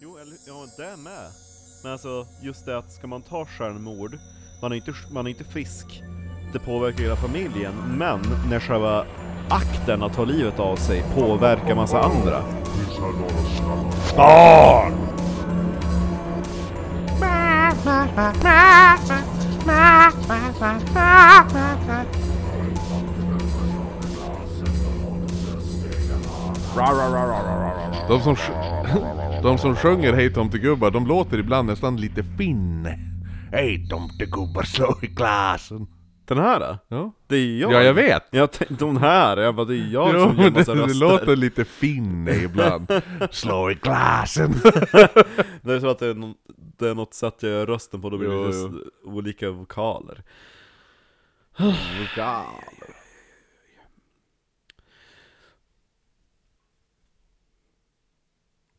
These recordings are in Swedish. Eller, ja, det är med. Men alltså, just det att ska man ta självmord, man är inte, man är inte frisk, det påverkar hela familjen, men när själva akten att ta livet av sig påverkar massa andra. De som, sj- de som sjunger Hej tomtegubbar, de låter ibland nästan lite finn. Hej tomtegubbar, slå i glasen. Den här då? Ja. Det är ju jag. ja, jag vet. Jag tänkte, de här, jag bara, det är jag Jo, som gör men det, massa det röster. låter lite finn ibland. slå i glasen. Det är så att det är, någon, det är något sätt jag gör rösten på, då blir Jo, det lite s- olika vokaler.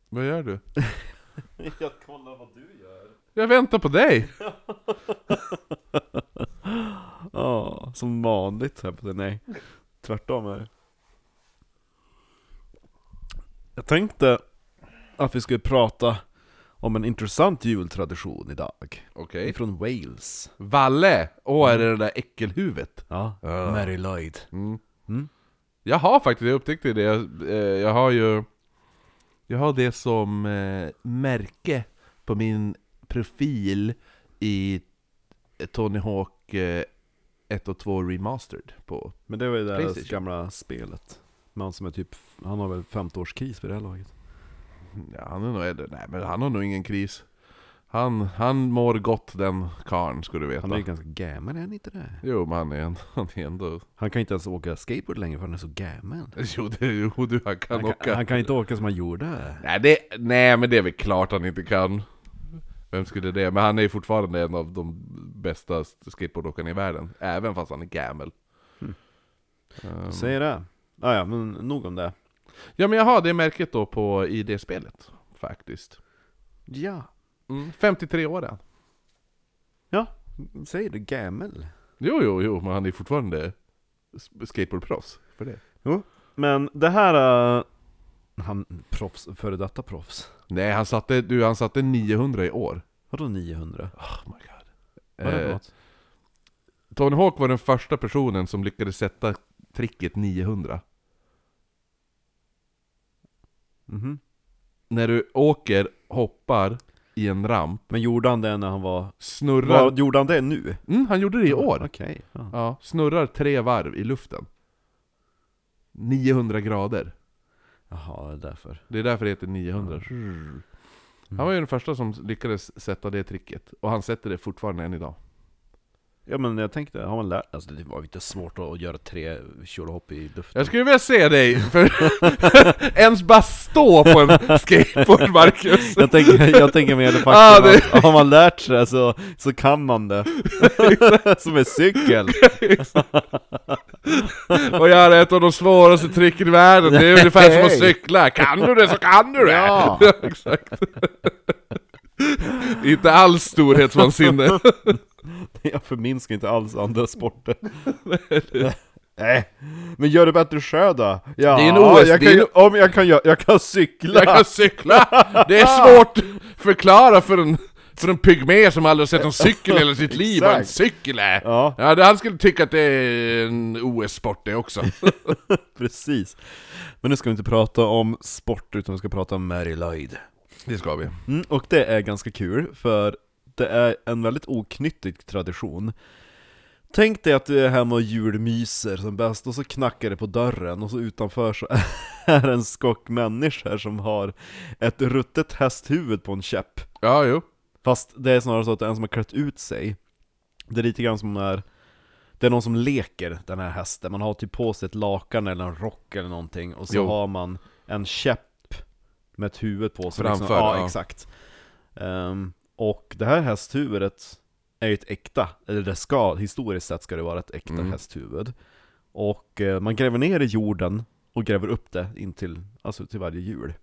Vad gör du? Jag kollar vad du gör. Jag väntar på dig. Ja, som vanligt här på det. Nej, tvärtom är det. Jag tänkte att vi skulle prata om en intressant jultradition idag. Okej. Från Wales. Valle! Åh, är det det där äckelhuvudet? Ja, Mary Lloyd. Mm. Jag har faktiskt, jag upptäckte det, jag, eh, jag har ju Jag har det som eh, märke på min profil i Tony Hawk eh, 1 och 2 Remastered på Men det var ju det här Playstation. gamla spelet. Men han som är typ, han har väl 50-årskris vid det här laget. ja, Han är nog äldre, nej men han har nog ingen kris Han, han mår gott den karn ska du veta Han är ju ganska gammal, är han inte det? Jo men han är, en- han är ändå... Han kan inte ens åka skateboard längre för han är så gammal. Jo, det, jo du, han kan Han åka Mm. kan, han kan inte åka som han gjorde. Nej, det, nej men det är väl klart han inte kan. Vem skulle det? Men han är ju fortfarande en av de bästa skateboardåkarna i världen. Även fast han är gammal. Hmm. Ehm, Du säger det. Ah, ja, men nog om det. Ja men jag har det märket då på, i det spelet. Faktiskt. Ja. Mm, 53 år är han. Ja, säger du gammal? Jo, jo, jo, men han är fortfarande s- skateboardproffs. För det. Jo. Men det här... eh, han, proffs, före detta proffs. Nej, han satte, du, han satte 900 i år. Vadå 900? Oh my god. Vad är det för Eh, något? Tony Hawk var den första personen som lyckades sätta tricket 900. Mhm. När du åker, hoppar i en ramp, Men gjorde han det när han var... snurrar... Vad, gjorde han det nu? Mm, han gjorde det i år. Okej. Ja. Ja, snurrar tre varv i luften. 900 grader. Jaha, det är därför. Det är därför det heter 900. Han var ju den första som lyckades sätta det tricket. Och han sätter det fortfarande än idag. Ja men jag tänkte, har man lärt Alltså det var ju inte svårt att göra tre kjolhopp i luften. Jag skulle vilja se dig för ens bara stå på en skateboard, Marcus. Jag tänker, jag tänker mer det faktum Ah, det- att har man lärt sig det så, så kan man det. Som en cykel. Och göra ett av de svåraste tricken i världen. Det är ungefär som att cykla. Kan du det så kan du det! Ja. Exakt. Inte alls storhetsvansinne. Jag förminskar inte alls andra sporter. Nej, men gör det bättre sjö då? Ja, Det är en OS jag det kan, är ju- om jag kan, gö- jag kan cykla! Jag kan cykla! Det är svårt att förklara för en, för en pygmé som aldrig har sett en cykel i hela sitt liv vad en Exakt. cykel är! Ja. Ja, det- han skulle tycka att det är en OS-sport det också. Precis. Men nu ska vi inte prata om sport, utan vi ska prata om Mary Lloyd. Det ska vi. Mm, och det är ganska kul, för det är en väldigt oknyttig tradition. Tänk dig att du är hemma och julmyser som bäst, och så knackar det på dörren, och så utanför så är det en skock människor som har ett ruttet hästhuvud på en käpp. Ja, jo. Fast det är snarare så att det är en som har klätt ut sig Det är lite grann som när Det är någon som leker den här hästen, man har typ på sig ett lakan eller en rock eller någonting Och så Jo. har man en käpp med ett huvud på sig liksom. Framför, ja, ja. exakt Ehm, Och det här hästhuvudet är ju ett äkta, eller det ska, historiskt sett ska det vara ett äkta Mm. hästhuvud Och eh, man gräver ner det i jorden och gräver upp det in till, alltså till varje jul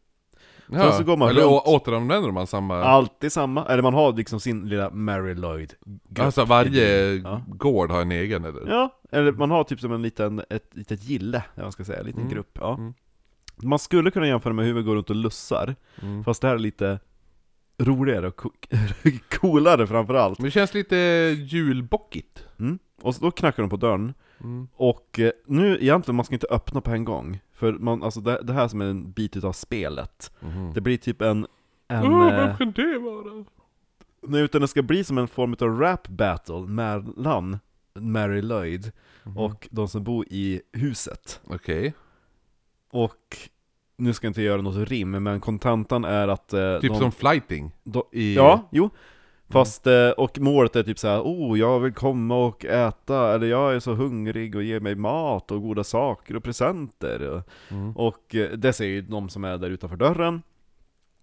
Ja. så går man Eller runt. å- återanvänder man samma... Alltid samma, eller man har liksom sin lilla Mary Lloyd-grupp alltså varje Ja. gård har en egen eller? Ja, eller man har typ som en liten, ett litet gille, eller vad man ska säga, en liten Mm. grupp ja. Mm. Man skulle kunna jämföra med hur vi går runt och lussar, Mm. fast det här är lite roligare och co- coolare framförallt. Men det känns lite julbockigt. Mm. Och så då knackar de på dörren, Mm. och eh, nu egentligen, man ska inte öppna på en gång. För man, alltså det, det här som är en bit utav spelet, det blir typ en... en eh, Mm. Oh, kan det vara? nej, utan det ska bli som en form av rap battle mellan Mary Lloyd och eh, de som bor i huset. Okej. Och nu ska jag inte göra något rim, men kontentan är att... Eh, Typ de, som flighting. de, I... Mm. Ja, jo. Fast, eh, och målet är typ så här: oh jag vill komma och äta, eller jag är så hungrig och ge mig mat och goda saker och presenter. Och, Mm. och eh, det säger ju de som är där utanför dörren.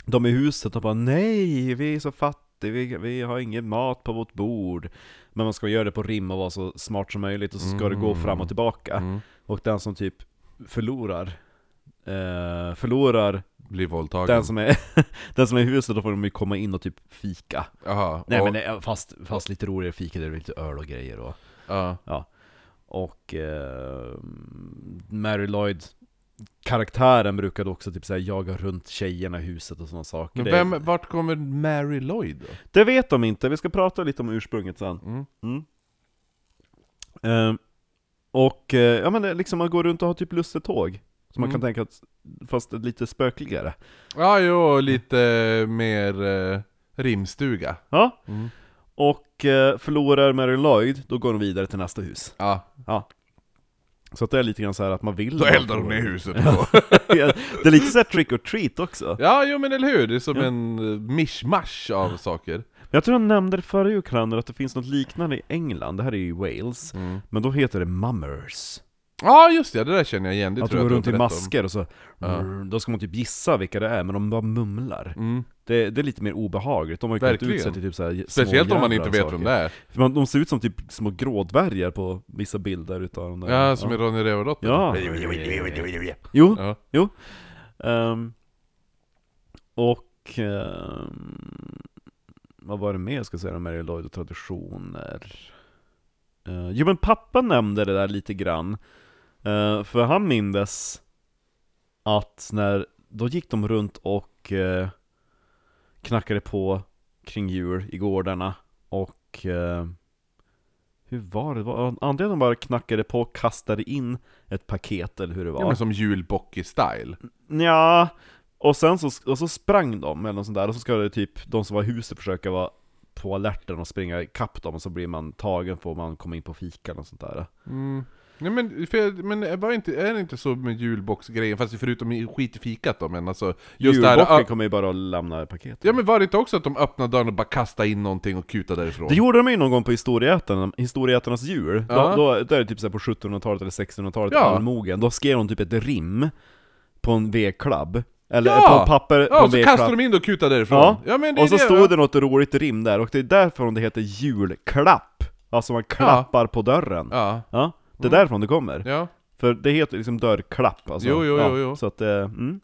De i huset och bara nej, vi är så fattiga, vi, vi har ingen mat på vårt bord. Men man ska göra det på rim och vara så smart som möjligt och så ska det gå Mm. fram och tillbaka. Mm. Och den som typ förlorar, eh, förlorar Blir våldtagen. den som, är, den som är i huset, då får de ju komma in och typ fika. Jaha. Nej och- men nej, fast, fast lite roligare fika, där det är lite öl och grejer och... ja. Och eh, Mary Lloyd karaktären brukade också typ såhär jaga runt tjejerna i huset och sådana saker. Men Det- vem, vart kommer Mary Lloyd då? Det vet de inte, vi ska prata lite om ursprunget sen. Mm. Mm. Eh, och eh, ja men det, är liksom man går runt och har typ lustetåg. Så man Mm. kan tänka att, fast lite spökligare. Ja, jo, lite eh, mer eh, rimstuga. Ja, Mm. och eh, förlorar Mary Lloyd, då går de vidare till nästa hus. Ja. Så att det är lite grann så här att man vill... Då eldar de ner huset då. det är lite såhär trick or treat också. Ja, jo men eller hur? Det är som Ja. en eh, mishmash av saker. Jag tror jag nämnde det förra julkalendern att det finns något liknande i England, det här är ju Wales, Mm. men då heter det mummers. Ja, just det. Det där känner jag igen. Det att du tror går jag runt du i har berättat om. masker och så, Ja. då ska man typ gissa vilka det är, men de bara mumlar. Mm. Det, det är lite mer obehagligt, de har ju klätt ut Verkligen. sig till typ såhär Speciellt om man inte vet vem det är. För man, de ser ut som typ små grådvärgar på vissa bilder utav den där. Ja, som i Ronny Rövardotter. Ja. Jo, Ja. jo. Ehm, och... ehm, vad var det mer jag ska säga om Mary Lloyd och traditioner? Eh, jo men pappa nämnde det där lite grann. Eh, för han mindes att när... Då gick de runt och eh, knackade på kring jul i gårdarna och... eh, hur var det? Var- Antingen de bara knackade på och kastade in ett paket eller hur det var. Ja, men som julbocke-style. Ja, och sen så, och så sprang de eller något sånt där, och så ska det typ de som var i huset försöka vara på alerten och springa ikapp dem, och så blir man tagen får man komma in på fikan och sånt där. Mm. Nej men, för, jag- men eh, var inte, är det inte så med julbox-grejen? Fast förutom i skit i fikat då men alltså Just det här, Djurbocken ö- kommer ju bara att lämna paket. Ja men var det inte också att de öppnade dörren och bara kastade in någonting och kutade därifrån? Det gjorde de ju någon gång på historieätarna, historieätarnas jul, Ja. då, då, där är det typ så här på 1700-talet eller 1600-talet, Ja. allmogen, då skrev de typ ett rim på en V-klubb, eller Ja! på papper på ja, en och så kastade V-klubb, de in det och kutade därifrån! Ja. men det och så är det, stod det något roligt rim där, och det är därför det heter julklapp, alltså man klappar på dörren. Ja, Ja, det är därifrån det kommer. Mm. ja, För det heter liksom dörrklapp alltså. Jo, jo, ja, jo, jo. Så att, eh, mm.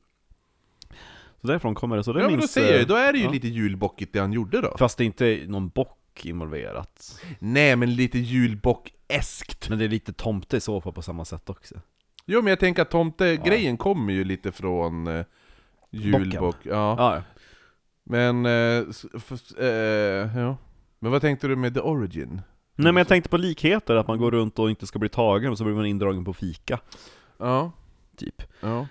Så därifrån kommer det, så det ja men minns... då säger eh, jag då är det ju ja. lite julbockigt det han gjorde då Fast det är inte någon bock involverat. Nej men lite julbock-eskt Men det är lite tomte i så fall på samma sätt också. Jo men jag tänker att tomtegrejen kommer ju lite från eh, julbock, ja. Ja, ja. Men, eh, s- f- eh, ja. Men vad tänkte du med the origin? Nej men jag tänkte på likheter, att man går runt och inte ska bli tagen och så blir man indragen på fika, Ja, typ. ja.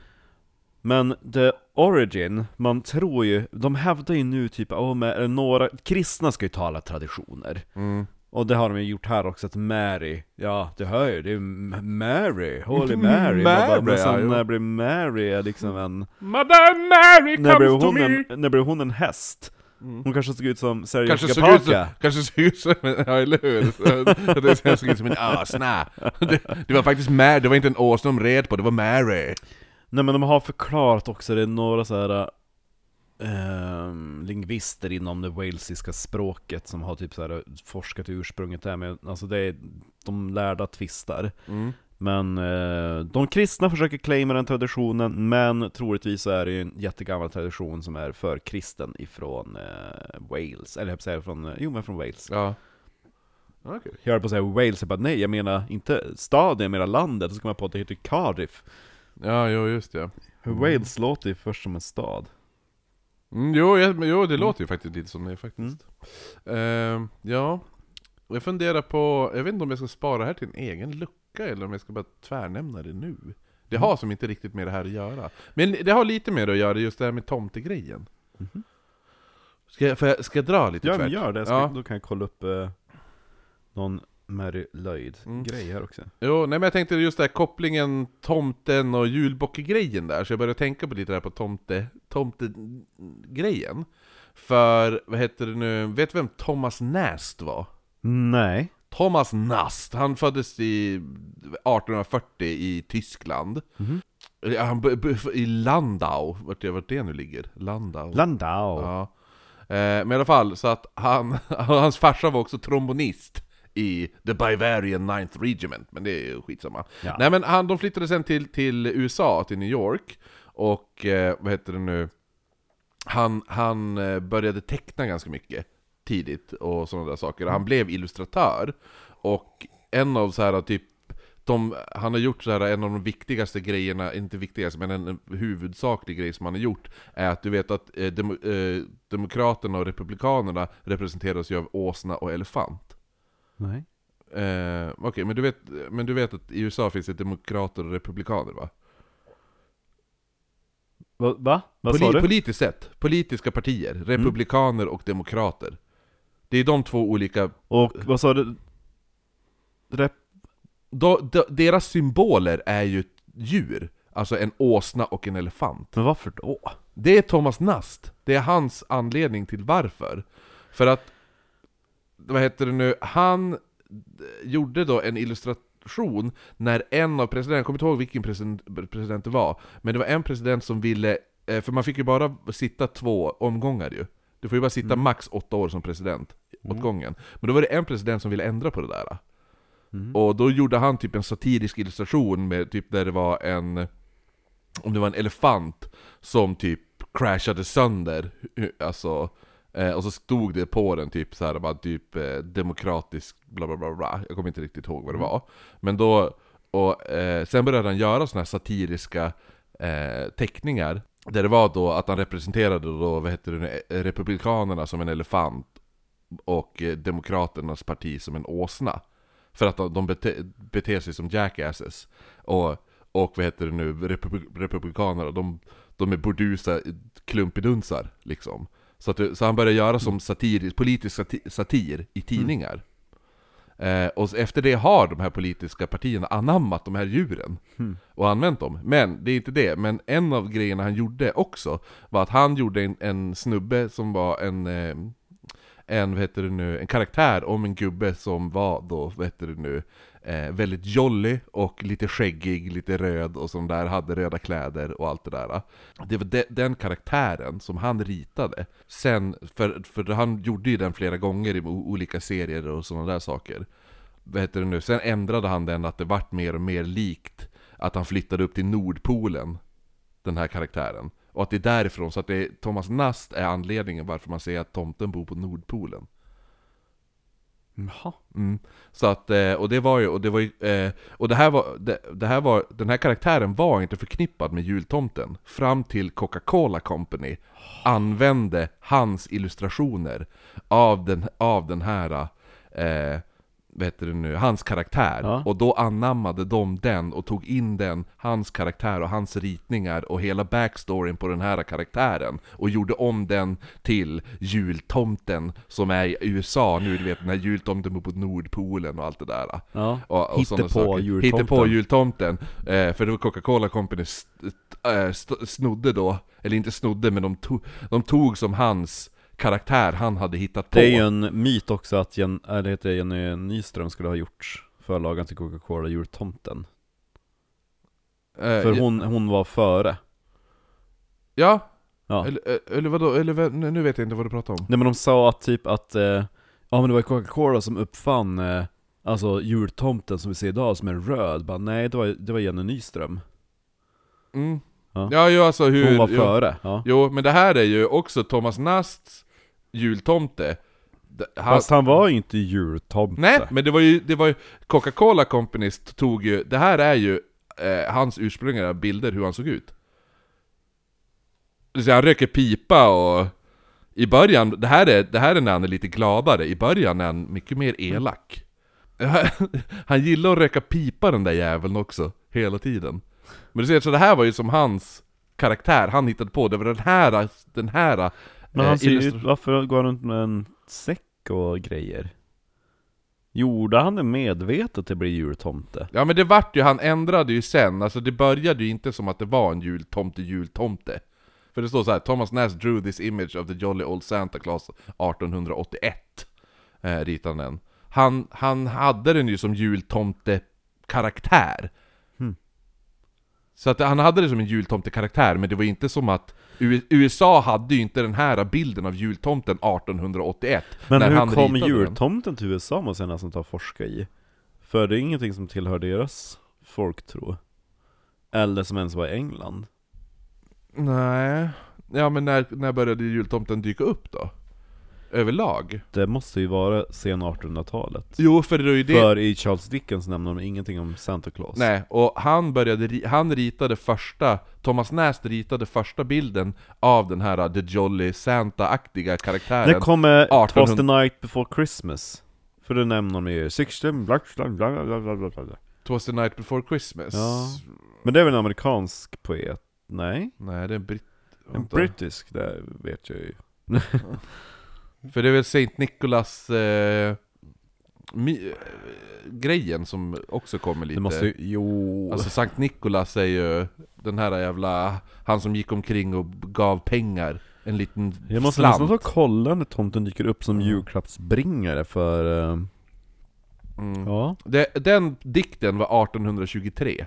Men the origin, man tror ju, de hävdar ju nu typ, oh, med, eller några, kristna ska ju tala traditioner. Mm. Och det har de ju gjort här också, att Mary, ja du hör ju, det är M- Mary, Holy Mary, Man bara, Mm, Mary, men ja, sen jo. när blev Mary liksom en... Madame Mary När blev, comes to hon me! Mm. en när blev hon en häst? Hon kanske såg ut som Sergej Kanske såg ut som, Skapaka? kanske såg ut som, en- ja eller hur? Så- Det sen såg ut som en åsna. Det, det var faktiskt Mary, det var inte en åsna de red på, det var Mary. Nej men de har förklarat också, det är några så här ehm, lingvister inom det walesiska språket som har typ så här forskat i ursprunget där, men alltså det är, de lärda tvistar. Mm. Men eh, de kristna försöker claima den traditionen, men troligtvis så är det ju en jättegammal tradition som är förkristen ifrån eh, Wales, eller jag höll på att säga från, eh, jo men från Wales. Ja. Okej. Jag höll på att säga Wales, jag bara nej, jag menar inte staden, jag menar landet, så kom jag på att det heter Cardiff. Ja, jo just det. Mm. Wales låter ju först som en stad. Mm, jo, jag, men jo, det låter ju faktiskt lite som det faktiskt. Mm. Ehm, ja, jag funderar på, jag vet inte om jag ska spara det här till en egen lucka eller om jag ska bara tvärnämna det nu. Det Mm. har som inte riktigt med det här att göra. Men det har lite mer att göra, just det här med tomtegrejen. Mhm. Ska, jag- får jag, ska jag dra lite Ja tvärt? men gör det, ska, Ja. då kan jag kolla upp eh, någon Mary Mm. Lloyd-grej här också. Jo, nej men jag tänkte just den här kopplingen tomten och julbockegrejen där, så jag började tänka på lite där på tomte, tomtegrejen. För, vad heter det nu, vet du vem Thomas Nast var? Nej. Thomas Nast, han föddes i 1840 i Tyskland. Mhm. Ja, Han, b- b- I Landau, vart det, vart det nu ligger? Landau. Landau. Ja. Eh, men i alla fall, så att han, hans farsa var också trombonist i The Bavarian Ninth Regiment, men det är ju skitsamma. Ja. Nej men han, de flyttade sen till, till USA, till New York, och eh, vad heter det nu? Han, han eh, började teckna ganska mycket tidigt och sådana där saker. Han blev illustratör, och en av så här typ de, han har gjort så här, en av de viktigaste grejerna, inte viktigaste, men en huvudsaklig grej som han har gjort är att du vet att eh, dem, eh, Demokraterna och Republikanerna representeras ju av åsna och elefant. Nej. Eh, Okej, men, du vet- men du vet att i USA finns det Demokrater och Republikaner va? Va? va? Vad sa Poli- du? Mm. Politiskt sett, politiska partier, Republikaner och Demokrater. Det är de två olika Och vad sa du? Rep... de, de, deras symboler är ju djur, alltså en åsna och en elefant. Men varför då? Det är Thomas Nast. Det är hans anledning till varför. För att, vad heter det nu, han eh, gjorde då en illustration när en av presidenterna, jag kommer inte ihåg vilken president, president det var, men det var en president som ville, eh, för man fick ju bara sitta två omgångar ju. Du får ju bara sitta max åtta år som president åt gången. Men då var det en president som ville ändra på det där. Mm. Och då gjorde han typ en satirisk illustration med typ där det var en om det var en elefant som typ crashade sönder, hu- alltså, eh, och så stod det på den typ så här, bara typ eh, demokratisk bla bla bla bla, jag kommer inte riktigt ihåg vad det var. Men då, och eh, sen började han göra såna här satiriska eh, teckningar, där det var då att han representerade då, vad heter det nu, eh, Republikanerna som en elefant och eh, Demokraternas parti som en åsna. För att de- de bete, beter sig som jackasses. Och, och vad heter det nu, republik, republikanerna, de, de är burdusa klumpidunsar liksom. Så, att, det- så han började göra som satir, politisk satir, satir i tidningar. Eh, och så efter det har de här politiska partierna anammat de här djuren och använt dem. Men det är inte det, men en av grejerna han gjorde också var att han gjorde en, en snubbe som var en eh, en, vad heter det nu, en karaktär om en gubbe som var då, vad heter det nu, eh, väldigt jolly och lite skäggig, lite röd och som där hade röda kläder och allt det där. Det var de, den karaktären som han ritade. Sen, för, för han gjorde ju den flera gånger i o- olika serier och sådana där saker. Vad heter det nu, sen ändrade han den att det vart mer och mer likt att han flyttade upp till Nordpolen den här karaktären. Och att det är därifrån, så att det är, Thomas Nast är anledningen varför man säger att tomten bor på Nordpolen. Jaha. Mm. Så att, eh, och det var ju, och det var ju, eh, och det här var, det, det här var, den här karaktären var inte förknippad med jultomten. Fram till Coca-Cola Company använde hans illustrationer av den, av den här, eh, vad heter det nu, hans karaktär. Ja. Och då anammade de den och tog in den, hans karaktär och hans ritningar och hela backstoryn på den här karaktären. Och gjorde om den till jultomten som är i USA nu, du vet den här jultomten bor på Nordpolen och allt det där. Ja. Och, och sådana Hittepå saker. jultomten. Hittepå jultomten. Eh, för det var Coca-Cola Company st- eh, st- snodde då, eller inte snodde men de tog, de tog som hans karaktär han hade hittat på. Det är ju en myt också att Jen, äh, det heter Jenny Nyström skulle ha gjort förlagan till Coca-Cola jultomten. Eh, För ja- hon, hon var före. Ja, Ja. eller, eh, eller vadå, eller vad- nu nu vet jag inte vad du pratar om. Nej men de sa att typ att, eh, ja men det var Coca-Cola som uppfann eh, Alltså jultomten som vi ser idag som är röd, bara nej det var, det var Jenny Nyström. Mm. Ja. Ja. ja, ju alltså hur... Hon var jo. före. Ja. Jo, men det här är ju också Thomas Nasts jultomte. D- han- Fast han var ju inte jultomte. Nej, men det var ju, det var ju Coca-Cola Companies tog ju, det här är ju eh, hans ursprungliga bilder hur han såg ut. Så han röker pipa och... I början, det här, är, det här är när han är lite gladare, i början är han mycket mer Mm. elak. Han gillar att röka pipa den där jäveln också, hela tiden. Men du ser, så det här var ju som hans karaktär, han hittade på det, var den här, den här... Men eh, han ser ju ut, illustration- varför går han runt med en säck och grejer? Gjorde han det medvetet att bli jultomte? Ja men det vart ju, han ändrade ju sen, alltså det började ju inte som att det var en jultomte, jultomte. För det står så här, Thomas Nass drew this image of the jolly old Santa Claus 1881. Eh, ritade han den. Han, han hade den ju som jultomte-karaktär. Hmm. Så att han hade det som en jultomte-karaktär, men det var inte som att U- USA hade ju inte den här bilden av jultomten 1881. Men när han hur kom ritade den. jultomten till USA måste jag nästan ta och forska i. För det är ingenting som tillhör deras folktro. Eller som ens var i England. Nej. Ja men när, när började jultomten dyka upp då? Överlag? Det måste ju vara sen 1800-talet. Jo för det är ju det... För i Charles Dickens nämner de ingenting om Santa Claus. Nej, och han började, ri- han ritade första, Thomas Nast ritade första bilden av den här uh, The Jolly Santa-aktiga När karaktären. kommer 1800 'Twas the night before Christmas? För det nämner de ju. 16, bla bla bla bla bla bla bla. Twas the night before Christmas. Ja. Men det är väl en amerikansk poet? Nej? Nej, det är en britt... En vänta. brittisk, det vet jag ju. För det är väl Saint Nicholas... Eh, my, eh, grejen som också kommer lite. Det måste ju, jo... Alltså Sankt Nikolas är ju den här jävla, han som gick omkring och gav pengar. En liten jag måste slant. nästan ta och kolla när tomten dyker upp som julklappsbringare för... eh, Mm. Ja. Det, den dikten var 1823.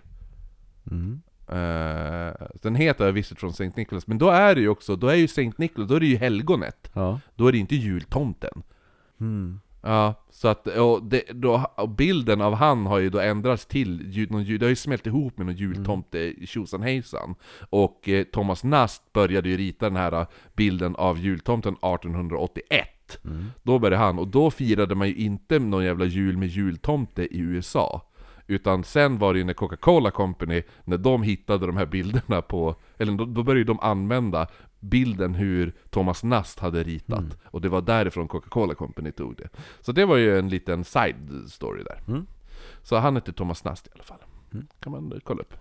Mm. Eh, den heter Visit från Sankt Nikolas, men då är det ju också, då är ju Sankt Nikolas, då är det ju helgonet. Ja. Då är det inte jultomten. Mm. Ja, så att, och det, då, och bilden av han har ju då ändrats till, ju- någon, ju- det har ju smält ihop med någon jultomte i tjosan hejsan. Och eh, Thomas Nast började ju rita den här eh, bilden av jultomten 1881. Då började han, och då firade man ju inte någon jävla jul med jultomte i USA. Utan sen var det ju när Coca-Cola Company, när de hittade de här bilderna på, eller då, då började ju de använda bilden hur Thomas Nast hade ritat. Och det var därifrån Coca-Cola Company tog det. Så det var ju en liten side story där. Mm. Så han hette Thomas Nast i alla fall. Mm. Kan man eh, kolla upp.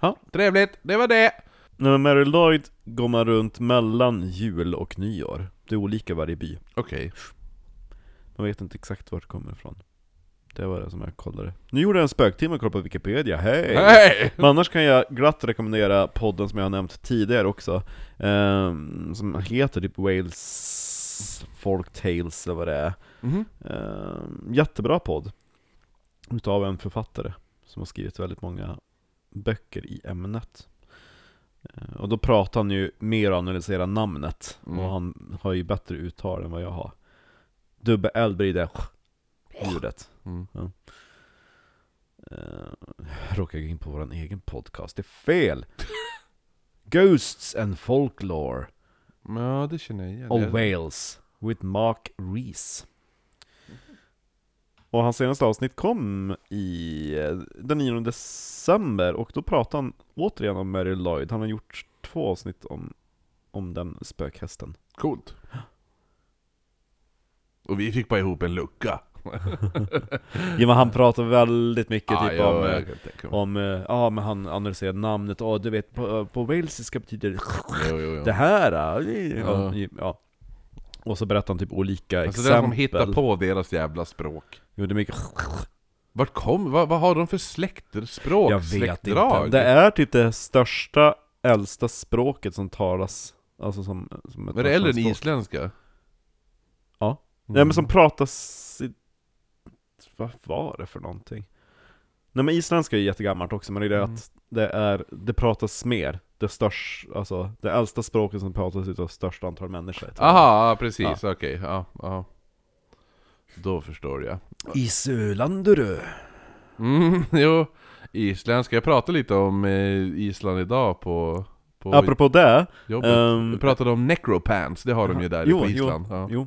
Ja. Trevligt, det var det! Nej men Mary Lloyd går man runt mellan jul och nyår. Det är olika varje by. Okej. Man vet inte exakt vart det kommer ifrån. Det var det som jag kollade. Nu gjorde jag en spöktimme och kollade på Wikipedia, hej! Hej! Men annars kan jag glatt rekommendera podden som jag har nämnt tidigare också, ehm, som heter typ Wales Folktales eller vad det är. Mhm. Ehm, jättebra podd. Utav en författare som har skrivit väldigt många böcker i ämnet. Ehm, och då pratar han ju mer och analyserar namnet, Mm. och han har ju bättre uttal än vad jag har. Dubbel-L blir det ljudet. Mm. Uh, råkar jag gå in på vår egen podcast, det är fel! Ghosts and Folklore Ja, det känner jag igen. of Jag- Wales with Mark Rees. Och hans senaste avsnitt kom i eh, den 9 december och då pratade han återigen om Mary Lloyd. Han har gjort två avsnitt om, om den spökhästen. Coolt. Och vi fick bara ihop en lucka. Ja, men han pratar väldigt mycket Ja, typ jag- om eh, jag kan tänka mig. Om, eh, ja men han analyserar namnet, och du vet på, på walesiska betyder det Jo, jo, jo. det här, eh, Ja. ja. ja. Och så berättar han typ olika Alltså den som exempel. hittar på deras jävla språk. Jo det är mycket Vart kom, vad, vad har de för släktspråk? Jag vet släktdrag? inte. Det är typ det största, äldsta språket som talas, alltså som, som ett Men det är äldre än Mm. nationalspråk. isländska? Ja. Nej men som pratas i... Vad var det för någonting? Nej men isländska är ju jättegammalt också, men det är det Mm. att det, är, det pratas mer. Det störs, alltså det äldsta språket som pratas utav störst antal människor. Aha, ja, precis, okej, ja, ja. Då förstår jag. Isölandurö. Mm, jo, isländska. Jag pratade lite om eh, Island idag på, på Apropå det, jobbet. ehm, Vi pratade om necropants, det har de ju där Jo, på jo, Island. Ja. jo.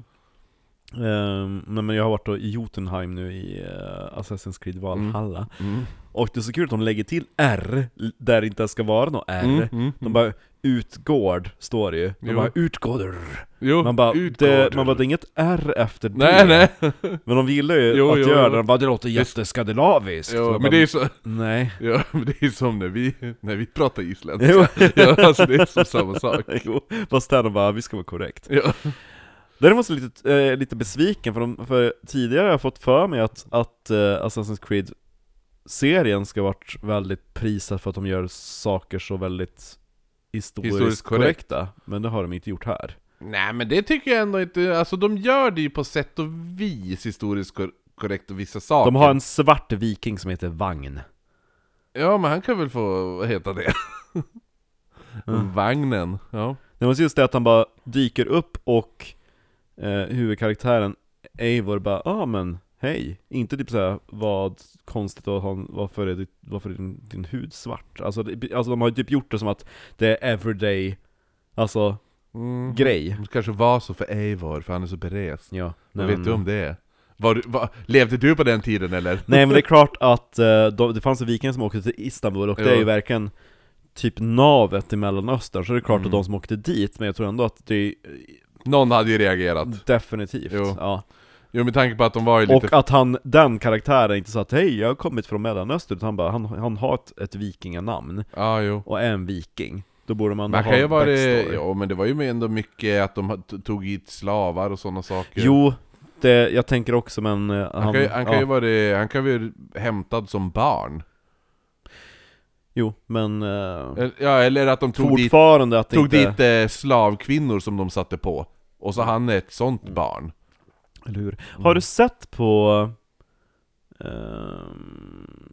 Ehm, men, men jag har varit då i Jotunheim nu i eh, Assassin's Creed Valhalla Mm. Och det är så kul att de lägger till R där det inte ens ska vara något R Mm. Mm. De bara Utgård står det ju, de Jo. bara Utgård Jo, Man bara, det, utgår. man bara, det är inget R efter det Nej nej! Men de gillar ju Jo, att jo, göra jo. det, de bara 'Det låter jätteskandinaviskt' Så Jo, jag men bara, det är så, Nej ja, men det är som när vi, när vi pratar isländska. Jo, Ja, alltså det är som samma sak. jo. fast här de bara "Ah, 'Vi ska vara korrekt' Ja. Däremot så är jag lite, eh, lite besviken, för, de, för tidigare har jag fått för mig att, att eh, Assassin's Creed-serien ska ha varit väldigt prisad för att de gör saker så väldigt historiskt, Historiskt korrekt. korrekta, men det har de inte gjort här. Nej men det tycker jag ändå inte, alltså de gör det ju på sätt och vis historiskt kor- korrekt och vissa saker. De har en svart viking som heter Vagn. Ja men han kan väl få heta det. Mm. Vagnen, ja. Det var just det att han bara dyker upp och eh, huvudkaraktären Eivor bara ah, men hej, inte typ såhär vad konstigt att ha, varför är, ditt, varför är din, din hud svart? Alltså, det, alltså de har ju typ gjort det som att det är everyday, alltså Mm. grej. Det kanske var så för Eivor, för han är så berest. Ja, Vad nej, vet men- du om det? Var, du- va, levde du på den tiden eller? Nej men det är klart att eh, de, det fanns en viking som åkte till Istanbul och det är ju Ja. verkligen typ navet i Mellanöstern, så det är klart Mm. att de som åkte dit, men jag tror ändå att det är Någon hade ju reagerat. definitivt, Jo. ja. Jo med tanke på att de var ju lite... Och att han, den karaktären inte sa att hej, jag har kommit från Mellanöstern, utan han bara, han, han har ett, ett vikinganamn Ja, jo. och är en viking. Då borde man, Man ha kan ju vara backstory. ja, men det var ju med ändå mycket att de t- tog hit slavar och sådana saker. Jo, det, jag tänker också men eh, han, han, kan ju, han kan ja, ju vara han kan ju hämtad som barn. jo, men eh, Eller- Ja, eller att de tog dit, fortfarande att det tog inte... dit eh, slavkvinnor som de satte på. Och så han är ett sånt Mm. barn. Eller hur? Har du sett på eh,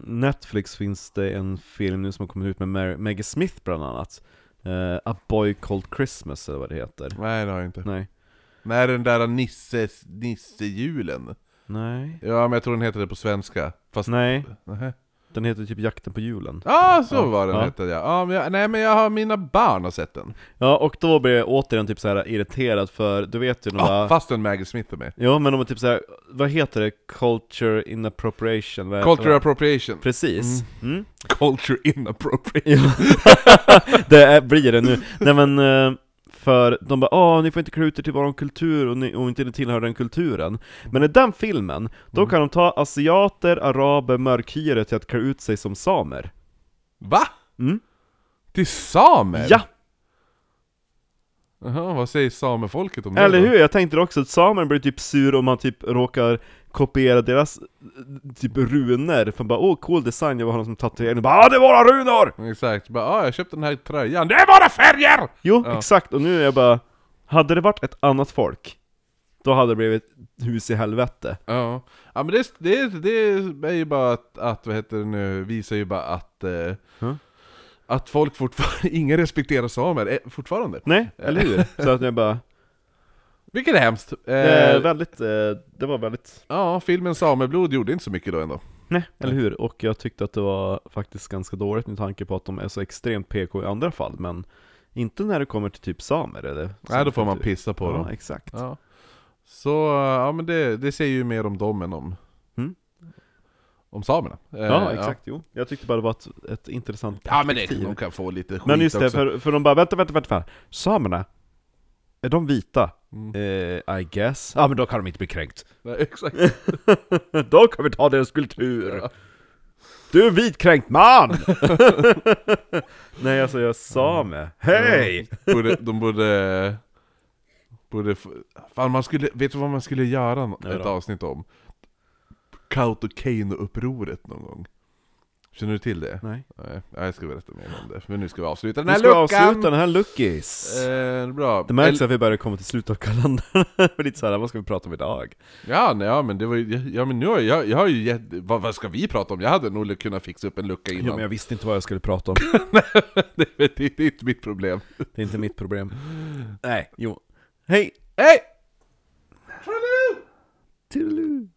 Netflix finns det en film nu som har kommit ut med Mary, Maggie Smith bland annat. Eh, A Boy Called Christmas eller vad det heter. Nej, det har jag inte. Nej. Nej, den där Nisse, Nissejulen. Nej. Ja, men jag tror den heter det på svenska. Fast... Nej, Nähä. den heter typ Jakten på julen. Ja, ah, så Ja. var den Ja. hette ja. ja men jag, nej men jag har, mina barn har sett den. Ja, och då blir jag återigen typ så här irriterad för du vet ju de Ah, där... fast en Maggie Smith är med. Ja, men de är typ så här, vad heter det? Culture inappropriation? Vad heter Culture det? appropriation. Precis. Mm. Culture inappropriate. Ja. det är, blir det nu. Nej men, eh, för de bara ah ni får inte klä ut er till våran kultur och, ni, och inte tillhör den kulturen. Men i den filmen, Mm. då kan de ta asiater, araber, mörkhyade till att klä ut sig som samer. Va? Mm. Till samer? Ja! Jaha, vad säger samefolket om Eller det då? hur? Jag tänkte också att samer blir typ sur om man typ råkar kopiera deras eh, typ runor, för bara åh cool design, jag vill ha någon som tatuerar, Och bara ah det är våra runor! Exakt, bara ah, jag köpte den här tröjan, det är våra färger! Jo, Ja. exakt, och nu är jag bara Hade det varit ett annat folk, då hade det blivit hus i helvete Ja, ja men det, det, det är ju bara att, att, vad heter det nu, visar ju bara att eh, Mm. Att folk fortfarande, ingen respekterar samer, eh, fortfarande. Nej, eller hur? Så att jag Eh. bara, Vilket är hemskt. Eh, eh, väldigt, eh, det var väldigt ja, filmen Sameblod gjorde inte så mycket då ändå. Nej, eller hur? Och jag tyckte att det var faktiskt ganska dåligt med tanke på att de är så extremt PK i andra fall, men inte när det kommer till typ samer eller Nej, då får man pissa på ja, dem. exakt Ja. Så, eh, ja men det, det säger ju mer om dem än om, Mm. om samerna. Eh, Ja, exakt, jo Jag tyckte bara det var ett, ett intressant Ja men det, perspektiv. de kan få lite skit Men just det, också. för, för de bara 'Vänta, vänta, vänta, vänta. samerna, är de vita?' Mm. Eh, I guess. Ja men då kan de inte bli kränkt. Nej, exakt. då kan vi ta deras kultur. Ja. Du är en vitkränkt man! Nej alltså jag är same. Hej! Borde, de borde... Borde... f- Fan, man skulle... Vet du vad man skulle göra nå- Ja, ett då. avsnitt om? Kautokeino-upproret någon gång. Känner du till det? Nej. Nej, jag ska berätta mer om det. Men nu ska vi avsluta den Nu här ska vi luckan! avsluta den här luckis. Eh, bra. det märks Eller- att vi börjar komma till slutet av kalendern. För lite såhär, vad ska vi prata om idag? Ja, nej, ja, men det var ju... Ja, men nu har jag, jag har ju gett, vad, vad ska vi prata om? Jag hade nog kunnat fixa upp en lucka Ja, innan. men jag visste inte vad jag skulle prata om. det, det, det är inte mitt problem. Det är inte mitt problem. Nej, jo. Hej! Hej! Toodaloo.